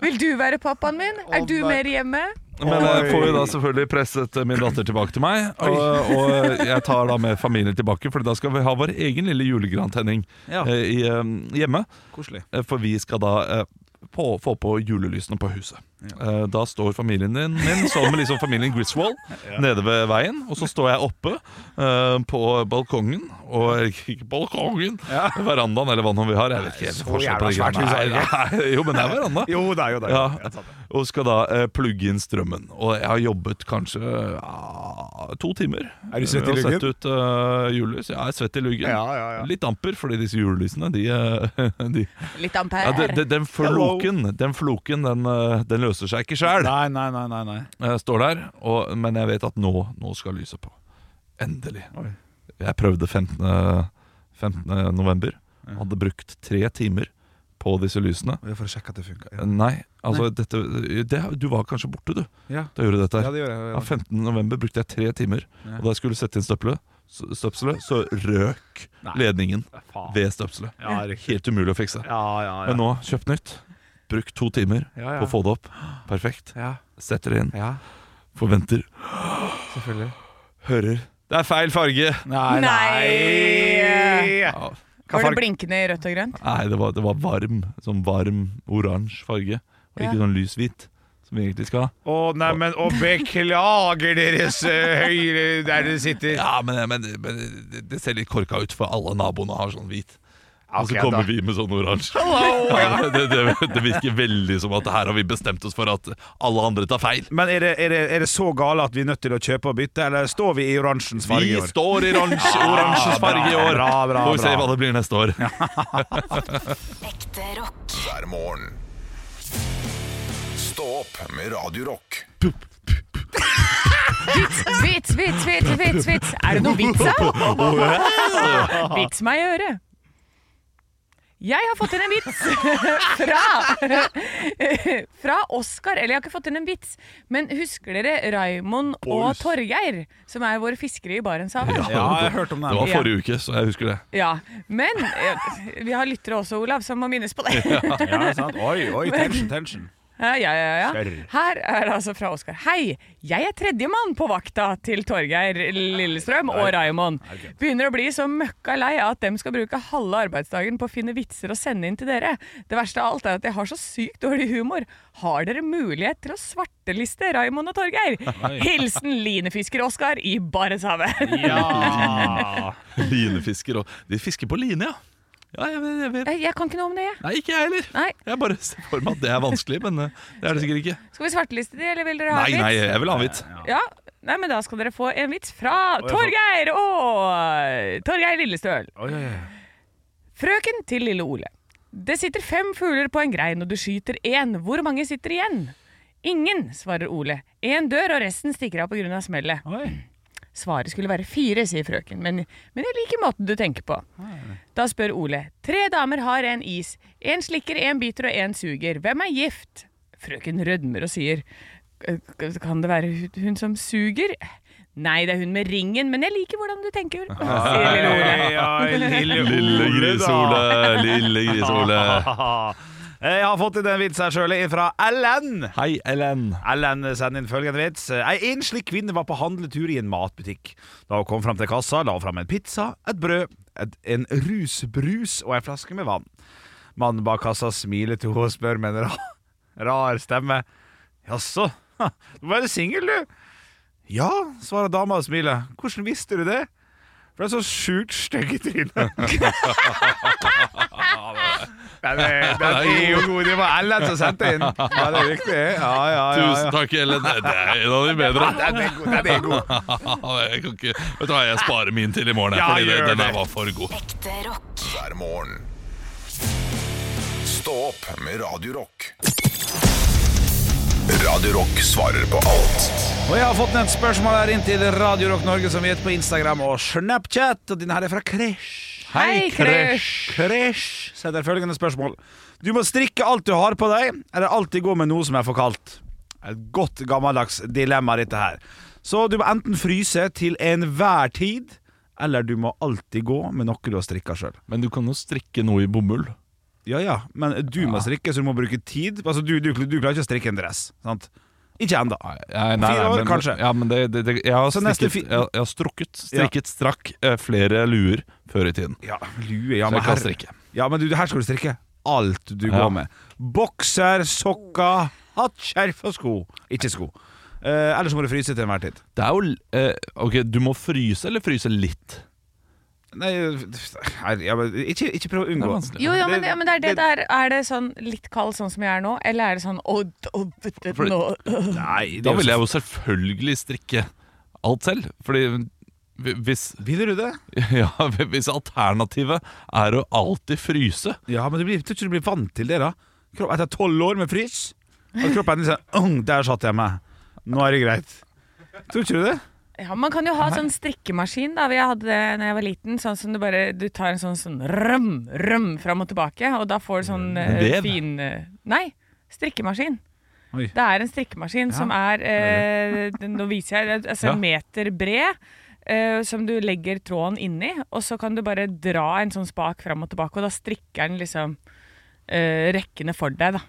Vil du være pappaen min? Er du mer hjemme? men jeg Oi. får jo da selvfølgelig presset eh, min datter tilbake til meg. Og, og jeg tar da med familien tilbake, for da skal vi ha vår egen lille julegrantenning Ja. eh, i, eh, hjemme. Koselig. Eh, For vi skal da eh, på, få på julelysene på huset. Eh, Da står familien din min sammen med liksom familien Griswold nede ved veien. Og så står jeg oppe eh, på balkongen og Ikke balkongen! Verandaen, eller hva nå vi har. Jeg vet ikke helt forskjell på de jævla svært greiene. hus er det Nei, nei, Jo, men det er veranda. Jo da, jo da. jo Ja, da. og skal da eh, plugge inn strømmen. Og jeg har jobbet kanskje ja, to timer. Er du svett Med i å luggen? sette ut eh, julelys. Ja, jeg er svett i luggen. Ja, ja, ja. Litt amper, fordi disse julelysene, de, eh, de Litt ja, ampere. den, den floken, den, floken den, eh, den løser seg ikke sjæl. Nei, nei, nei, nei, nei. Jeg står der, og, men jeg vet at nå, nå skal lyset på. Endelig. Jeg prøvde 15. 15. november. Hadde brukt tre timer på disse lysene. Det er for å sjekke at det funker. Ja. Nei, altså dette det, Du var kanskje borte, du, Ja. da jeg gjorde dette. ja, her. det gjør jeg. Ja, Ja. 15. november brukte jeg tre timer. Ja. Og da jeg skulle sette inn støpselet, så- støpselet, så røk Nei. ledningen Faen. ved støpselet. Ja, riktig. Helt umulig å fikse. Ja, ja, ja. Men nå, kjøp nytt. Bruk to timer Ja, ja. på å få det opp. Perfekt. Ja, Setter det inn. ja, Forventer. selvfølgelig. Hører. Det er feil farge! Nei, Nei. Ja. Var det blinkende i rødt og grønt? Nei, det var, det var varm. Sånn varm oransje farge. Og ikke Ja. sånn lys hvit, som vi egentlig skal ha. Å, nei, men å, beklager deres eh, høyre der dere sitter. Ja, men, men, men det- det ser litt korka ut, for alle naboene har sånn hvit. Og så Ok, da. kommer vi med sånn oransje. Ja, det, det, det virker veldig som at her har vi bestemt oss for at alle andre tar feil. Men er det, er, det, er det så gale at vi er nødt til å kjøpe og bytte, eller står vi i oransjens farge Vi i år? står i oransje, Ja, oransjes farge i bra, år. bra, bra, Får vi se bra. hva det blir neste år. Ekte rock. hver morgen. Stå opp med Radio Rock. Vits, vits, vits, vits, vits. Er det noe vits her? Vits meg i øret. Jeg har fått inn en vits fra, fra Oskar. Eller jeg har ikke fått inn en vits, men husker dere Raymond og Torgeir, som er våre fiskere i Barentshavet? Ja, jeg har hørt om Det den. var forrige uke, så jeg husker det. Ja. Men eh, vi har lyttere også, Olav, som må minnes på det. Ja, sant. Oi, oi, tension, tension. Ja, ja, ja, ja. Kjør. Her er det altså fra Oskar. Hei, jeg er tredjemann på vakta til Torgeir Lillestrøm og Raymond. Begynner å bli så møkka lei av at dem skal bruke halve arbeidsdagen på å finne vitser og sende inn til dere. Det verste av alt er at jeg har så sykt dårlig humor. Har dere mulighet til å svarteliste Raymond og Torgeir? Hilsen linefisker Oskar i Barentshavet. Ja. Linefisker og De fisker på line, ja. Ja, jeg vet, jeg vet. Eh, Jeg jeg kan ikke noe om det, jeg. Nei, ikke jeg heller. Nei. Jeg bare ser for meg at det er vanskelig, men eh, det er det sikkert ikke. Skal vi svarteliste de, eller vil dere ha Nei, en vits? nei, jeg vil ha en vits. Ja, nei, men da skal dere få en vits fra Torgeir og Torgeir Lillestøl. Frøken til lille Ole. Det sitter fem fugler på en grein, og du skyter én. Hvor mange sitter igjen? Ingen, svarer Ole. Én dør, og resten stikker av pga. smellet. Svaret skulle være fire, sier frøken, men, men jeg liker måten du tenker på. Da spør Ole. Tre damer har en is. En slikker, en biter og en suger. Hvem er gift? Frøken rødmer og sier. «K- k- Kan det være hun- hun som suger? Nei, det er hun med ringen, men jeg liker hvordan du tenker. Sier lille Ole. Oi, oi, lille Lille Ole, grisole, da. lille grisole. Jeg har fått inn en vits her sjøl, fra Ellen. Hei, Ellen. Ellen sender inn følgende vits. Ei enslig kvinne var på handletur i en matbutikk. Da hun kom fram til kassa, la hun fram en pizza, et brød, et, en rusbrus og ei flaske med vann. Mannen bak kassa smiler til henne og spør med en ra rar stemme. Jaså, du var singel, du? Ja, svarer dama og smiler. Hvordan visste du det? For det er så sjukt stygg i trynet. Ja, det, det er jo god. Det var Ellen som sendte inn. Ja, det er riktig. Ja, ja, ja. Tusen ja. takk, Ellen. Det er en av de bedre. Den er god. Den er god. Jeg kan ikke, vet du hva, jeg sparer min til i morgen, jeg, Ja, fordi det, gjør den det. her var for god. Ekte rock. hver morgen. Stå opp med Radio Rock. Radio Rock svarer på alt Og jeg har fått et spørsmål her inn til Radio Rock Norge, som vi heter på Instagram og Snapchat. Og denne her er fra Kresh. Hei, Kresh. Kresh setter følgende spørsmål. Du må strikke alt du har på deg, eller alltid gå med noe som er for kaldt. Et godt gammeldags dilemma, dette her. Så du må enten fryse til enhver tid, eller du må alltid gå med noe du har strikka sjøl. Men du kan jo strikke noe i bomull. Ja ja, men du må strikke, så du må bruke tid. Altså, du, du, du klarer ikke å strikke en dress, sant? Ikke ennå. Nei, nei, nei, Fire år, men, kanskje. Ja, men det, det, det, jeg, har Så neste strikket, fi- jeg, jeg har strukket, strikket, strakk eh, flere luer før i tiden. Ja, lue, ja, Så men jeg kan her, strikke. Ja, men du, her skal du strikke alt du Ja. går med. Bokser, sokker, hatt, skjerf og sko. Ikke sko. Eh, ellers må du fryse til enhver tid. Det er jo l- eh, Ok, du må fryse eller fryse litt? Nei, her, ja, men ikke, ikke prøv å Det er unngå. vanskelig. Jo, jo, men, Det- ja, men det er det det- der. Er det sånn litt kald sånn som jeg er nå, eller er det sånn å, å, For- nå. Nei, Da ville jeg jo selvfølgelig strikke alt selv. Fordi hvi- hvis, Vil du det? ja, hvis alternativet er å alltid fryse Ja, men du blir, tror ikke du blir vant til det, da. Kropp, etter tolv år med frys og kroppen din sier «Åh, Der satt jeg meg. Nå er det greit. Tror ikke du det? Ja, Man kan jo ha sånn strikkemaskin. da, Jeg hadde det da jeg var liten. sånn som Du bare, du tar en sånn, sånn røm, røm fram og tilbake, og da får du sånn eh, vev? fin eh, Nei, strikkemaskin. Oi. Det er en strikkemaskin som er eh, den- Nå viser jeg det, altså Ja. en meter bred. eh, som du legger tråden inni, og så kan du bare dra en sånn spak fram og tilbake, og da strikker den liksom eh, rekkene for deg, da.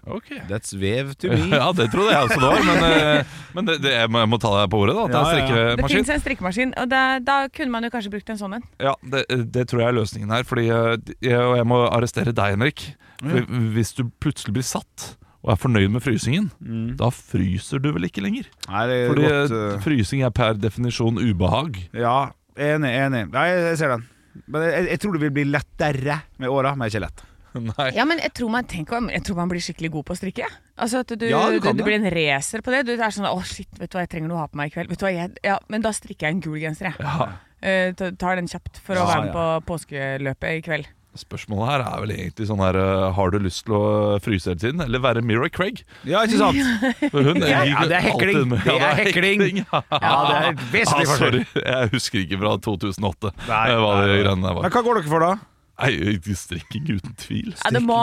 That's wave to me. Ja, det trodde jeg også det var, men, eh, men det, det, jeg må jeg må ta deg på ordet. da Det Ja, er ja, ja. Det strikkemaskin. fins en strikkemaskin, og da, da kunne man jo kanskje brukt en sånn en. Ja, det, det tror jeg er løsningen her. Fordi eh, jeg, og jeg må arrestere deg, Henrik. For Hvis du plutselig blir satt og er fornøyd med frysingen, Mm. da fryser du vel ikke lenger? Nei, det er Fordi godt, eh, eh. frysing er per definisjon ubehag. Ja, enig, enig. Nei, jeg, jeg ser den. Men jeg, jeg tror det vil bli lettere med åra, men ikke lett. Nei. Ja, men jeg tror man, tenk om, jeg tror man blir skikkelig god på å strikke. jeg. Altså at du, Ja, du, du, du kan det. blir en racer på det. Du er sånn 'Å, shit, vet du hva, jeg trenger noe å ha på meg i kveld'. Vet du hva, jeg, ja, Men da strikker jeg en gul genser, jeg. Eh, ta- tar den kjapt for å Ja, være med på påskeløpet i kveld. Spørsmålet her er vel egentlig sånn her eh, Har du lyst til å fryse hele tiden, eller være Mira Craig? Ja, ikke sant? For hun Ja, gikk ja, det er hekling. alltid med- Det er hekling. Ja, Ja, det er et vesentlig Ah, sorry, forskjell. jeg husker ikke fra 2008 Nei, eh, hva de nei, nei. greiene der Men var. hva går dere for, da? Nei, strikking uten tvil. Ja, det, må,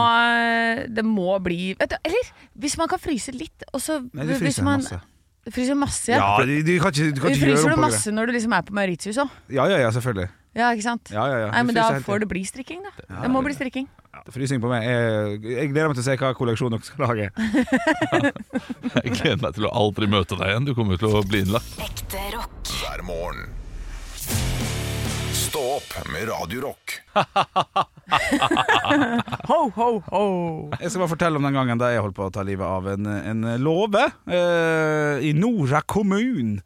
det må bli vet du, Eller hvis man kan fryse litt, og så Nei, du hvis fryser man, masse. Du fryser masse, Ja, ja. du, du kan ikke, du kan Du ikke gjøre fryser om du på masse når du liksom er på Mauritius òg. det. Ja, ja, ja, selvfølgelig. Ja, ikke sant? Ja, ja, ja. Nei, Du men da fryser hele får tiden. det bli strikking, da. Det må bli strikking. Frysing på meg. Jeg, jeg gleder meg til å se hva kolleksjon dere skal lage. Jeg gleder meg til å aldri møte deg igjen. Du kommer til å bli innlagt. Ekte rock. hver morgen. Stå opp med Radio Rock. Ho, ho, ho. Jeg skal bare fortelle om den gangen da jeg holdt på å ta livet av en, en låve eh, i Nora kommun.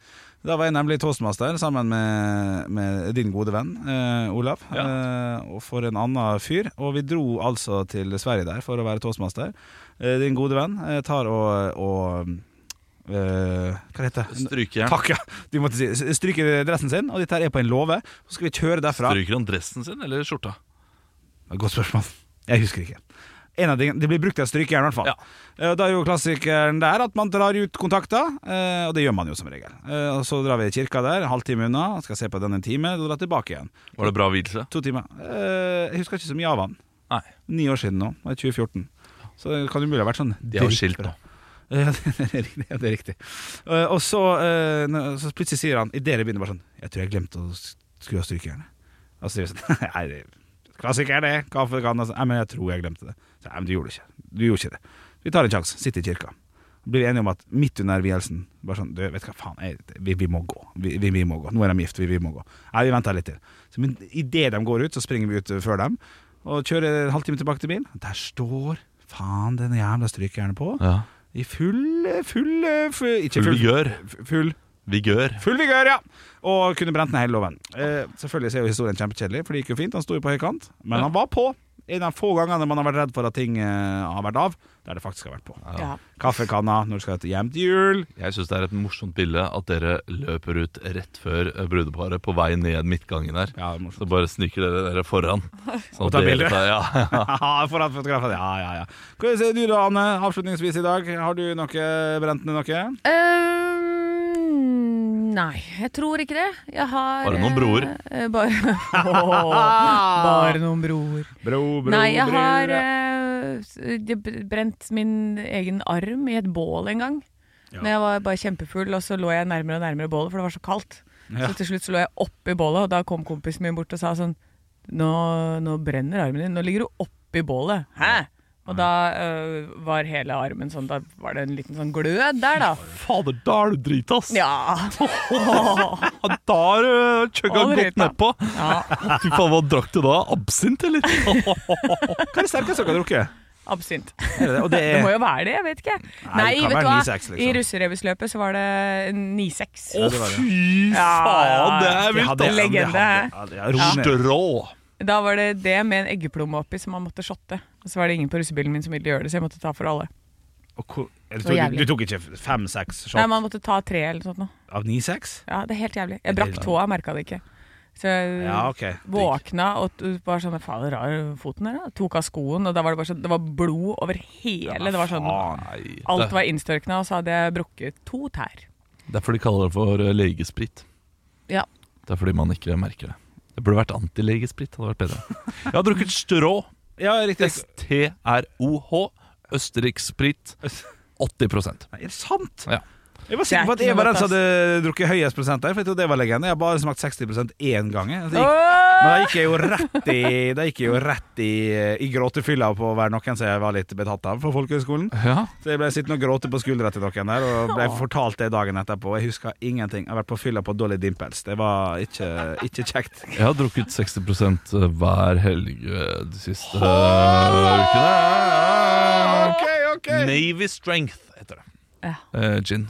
Da var jeg nemlig toastmaster sammen med, med din gode venn eh, Olav. Eh, og for en annen fyr. Og vi dro altså til Sverige der for å være toastmaster. Eh, din gode venn eh, tar og, og eh, Hva heter det? Strykejern. Takk, ja. Du måtte si. Stryker dressen sin, og dette her er på en låve. Så skal vi kjøre derfra. Stryker han dressen sin eller skjorta? Godt spørsmål. Jeg husker ikke. En av tingene, Det blir brukt et strykejern, i hvert fall. Ja. Eh, Da er jo klassikeren der at man drar ut kontakter, eh, og det gjør man jo som regel. Eh, Og Så drar vi i kirka der, en halvtime unna, skal se på den en time, og drar tilbake igjen. Var det bra vielse? To timer. Eh, Jeg husker ikke så mye av han. Nei. Ni år siden nå, det er 2014. Så det kan umulig ha vært sånn De er jo skilt nå. Ja, det er riktig. Ja, det er riktig. Eh, Og så, eh, nå- så plutselig sier han, idet det begynner bare sånn Jeg tror jeg glemte å s- skru av strykejernet. Og så sier vi sånn Nei, det klassiker, det. Kaffe kan altså. Nei, men jeg tror jeg glemte det. Så, Nei, men du gjorde det ikke. Du gjorde ikke det. Vi tar en sjanse. Sitt i kirka. Blir vi enige om at midt under vielsen Bare sånn, du vet du hva faen, jeg, vi, vi må gå. Vi, vi, vi må gå. Nå er de gift, vi, vi må gå. Nei, vi venter litt til. Så, men idet de går ut, så springer vi ut eh, før dem. Og kjører en halvtime tilbake til bilen. Der står faen den jævla strykejernet på. Ja. I full, full, full Ikke Full full gjør. f- Full Vigør. Full vigør, ja! Og kunne brent ned hele låven. Eh, selvfølgelig så er jo historien kjempekjedelig, for det gikk jo fint. Han sto jo på høykant, men han var på. En av de få gangene man har vært redd for at ting eh, har vært av, der det faktisk har vært på. Ja. Kaffekanna når du skal til hjem til jul. Jeg syns det er et morsomt bilde at dere løper ut rett før eh, brudeparet på vei ned midtgangen der. Ja, det er morsomt. Så bare sniker dere dere foran. Sånn Og tar at dere bilder. tar- Ja, ja. Haha, Foran fotografen. Ja, ja, ja. Hva sier du da, Anne, avslutningsvis i dag? Har du noe brent ned noe? Øhm, Ehm, nei, jeg tror ikke det. Jeg har Bare noen broer. eh, bare, Åh, Ah. bare noen broer. Bro, bro, nei, jeg bro, har ja. eh, s- jeg b- brent min egen arm i et bål en gang. Ja. Når jeg var bare kjempefull, og så lå jeg nærmere og nærmere bålet, for det var så kaldt. Ja. Så til slutt så lå jeg oppi bålet, og da kom kompisen min bort og sa sånn Nå, nå brenner armen din. Nå ligger du oppi bålet. Hæ? Og da eh, var hele armen sånn Da var det en liten sånn glød der, da. Fader, da er du dritass! Ja. Da er du chugga All godt drita. nedpå! ja. Fy faen, hva drakk du da? Absint, eller? Hva er det sterkeste dere har drukket? Absint. Er det det? Og det Det må er jo være det, jeg vet ikke. Nei, det kan vet være du hva? 9-6, liksom. I russerevysløpet så var det 9-6. Å, det var det. fy faen, Ja, ja, ja. det er Det vilt! hadde jeg, men det Legende. hadde- ja, det er rolig. Strå! Da var det det med en eggeplomme oppi som man måtte shotte. Og så var det ingen på russebilen min som ville gjøre det, så jeg måtte ta for alle. Og hvor- eller Det var tok- du, jævlig. tok ikke fem-seks shot Nei, man måtte ta tre eller sånt noe. av ni-seks? Ja, det er helt jævlig. Jeg brakk Ja. tåa, merka det ikke. Så jeg Ja, OK. Digg. våkna og t- var sånn Faen, det er rar foten der, da. Tok av skoen, og da var det bare sånn Det var blod over hele. det var sånn Nei, Alt det, var innstørkna, og så hadde jeg brukket to tær. det er fordi de kaller det for eh, legesprit. Ja. Det er fordi man ikke merker det. Det burde vært antilegesprit. hadde vært bedre. Jeg har drukket strå. Ja, riktig. S-T-R-O-H. Østerriksprit. 80 Nei, er det sant? Ja. Jeg var sikker på at Det er jeg ikke var noe den som godt, hadde drukket høyest prosent der, for jeg trodde det var legende. Jeg har bare smakt 60 én gang. jeg. Altså, jeg- Åh! Men da gikk jeg jo rett i, da gikk jeg jo rett i, i gråtefylla på å være noen som jeg var litt betatt av på folkehøgskolen. Ja. Så jeg ble sittende og gråte på skuldra til noen der, og ble fortalt det dagen etterpå. Jeg husker ingenting. Jeg har vært på fylla på Dolly Dimples. Det var ikke, ikke kjekt. Jeg har drukket 60 hver helg eh, de siste eh, ukene. OK, OK! Navy Strength heter det. Ja. Eh, gin.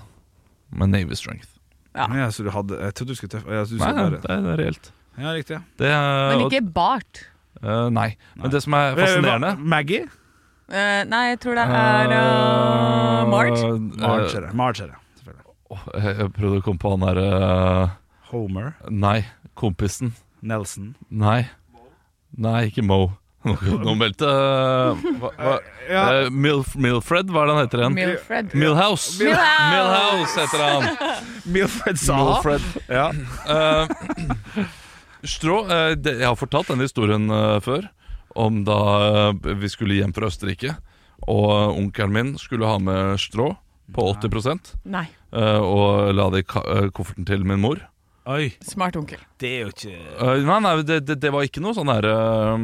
Men Navy Strength. Ja, så du hadde Jeg trodde du skulle tøffe ja, så du Nei, skulle nei, bare- det er, det er reelt. Ja, riktig. ja. Det, er- Men ikke bart. eh, nei. Men det som er fascinerende Eh, hva- Maggie? Eh, nei, jeg tror det er uh, Marge. Eh, Marge er det. Marge er det. selvfølgelig. åh, jeg jeg prøvde å komme på han der eh, Homer. Nei, kompisen. Nelson. Nei. Nei, ikke Mo. Nå nå meldte eh, hva, hva, Ja. eh, Milf, Milfred, hva er det han heter igjen? Milfred. Milhouse. Milhouse. Milhouse heter han. Milfred Saha. Milfred. Ja. Eh, strå eh, det, Jeg har fortalt denne historien eh, før, om da eh, vi skulle hjem fra Østerrike, og eh, onkelen min skulle ha med strå på 80 Nei, eh, og la det i ka- eh, kofferten til min mor. Oi, smart onkel. det er jo ikke Eh, nei, nei, det, det, det var ikke noe sånn derre eh,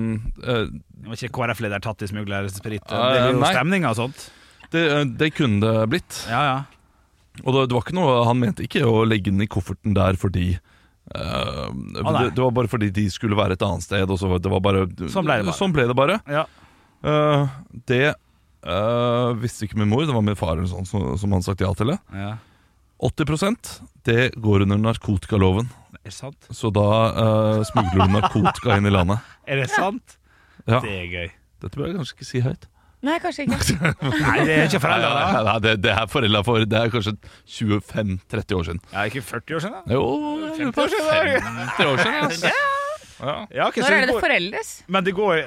Det var ikke KrF-leder tatt i smuglersprit. Det Eh, er jo nei. stemning og sånt. det, eh, det kunne det blitt. Ja, ja. Og det, det var ikke noe Han mente ikke å legge den i kofferten der fordi eh, Ah, nei. det, det var bare fordi de skulle være et annet sted. Og så var- det var bare, Sånn ble det bare. Sånn ble det bare. ja. Eh, det eh, visste ikke min mor, det var min far eller sånn, som, som hadde sagt ja til det. ja. 80 det går under narkotikaloven, Er det sant? så da eh, smugler du narkotika inn i landet. Er det sant? Ja, Det er gøy. Dette bør jeg kanskje ikke si høyt. Nei, kanskje ikke. Nei, det er ikke Nei, foreldre, da. nei, nei, det, det er forelda for Det er kanskje 25-30 år siden. Ja, ikke 40 år siden, da? Jo, jeg lurer på 50 år siden, 50 år siden. Altså. Ja. Ja, ok, så Når er det går- foreldes? Men det går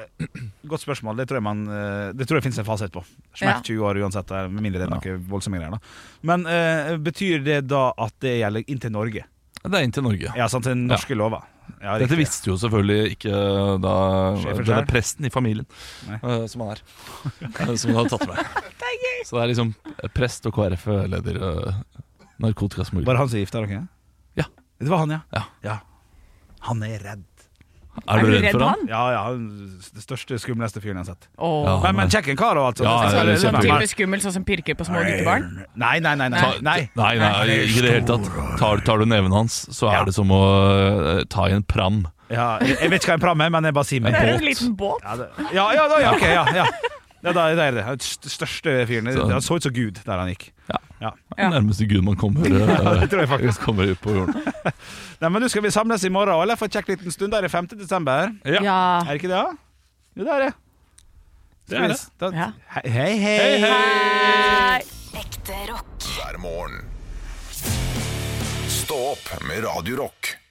Godt spørsmål. Det tror jeg, man, eh, det tror jeg finnes en fasit på. Ja. Smekk 20 år uansett, eh, med mindre det er noe voldsomme greier. da Men eh, betyr det da at det gjelder inn til Norge? Det er inn til Norge. Ja, sant, til norske lover. Ja, Dette riktig. visste jo selvfølgelig ikke eh, da Sjefen denne selv. presten i familien Nei. eh, som han er. eh, som han hadde tatt med. Så det er liksom prest og KrF-leder uh, Var narkotikasmugler. det han som gifta dere? Ja. Det var han, ja. Ja. Han er redd. Er du redd for han? han? Ja, ja, han- det største, skumleste fyren jeg har sett. Åh. Ja. Men, men kjekk en kar, altså. og alt sånt. Ja, ja, det er Sånn kjempegøy. type skummel, sånn som pirker på små guttebarn? Nei, nei, nei. nei, Ta- nei. nei, nei, ikke i det hele tatt. Tar, tar du neven hans, så er Ja. det som å eh, ta i en pram. Ja, jeg jeg vet ikke hva en pram er, men jeg bare sier meg Det er på. jo en liten båt. Ja, det, ja, ja, da, ja, ok, ja, ja. Ja, da, det er det. Han st- største fyren. Så- Han så ut som Gud der han gikk. Ja. Ja. Det er nærmeste Gud man kommer, ja, det tror jeg faktisk. kommer ut på jorden. Nei, men du skal vi samles i morgen, eller? Få kjekt liten stund. Da er det 5. desember. Ja. Er det ikke det? da? Jo, det er det. Det er det. Da- Ja. Hei, hei. hei, hei. Hei. Ekte rock. hver morgen. Stå opp med Radio Rock.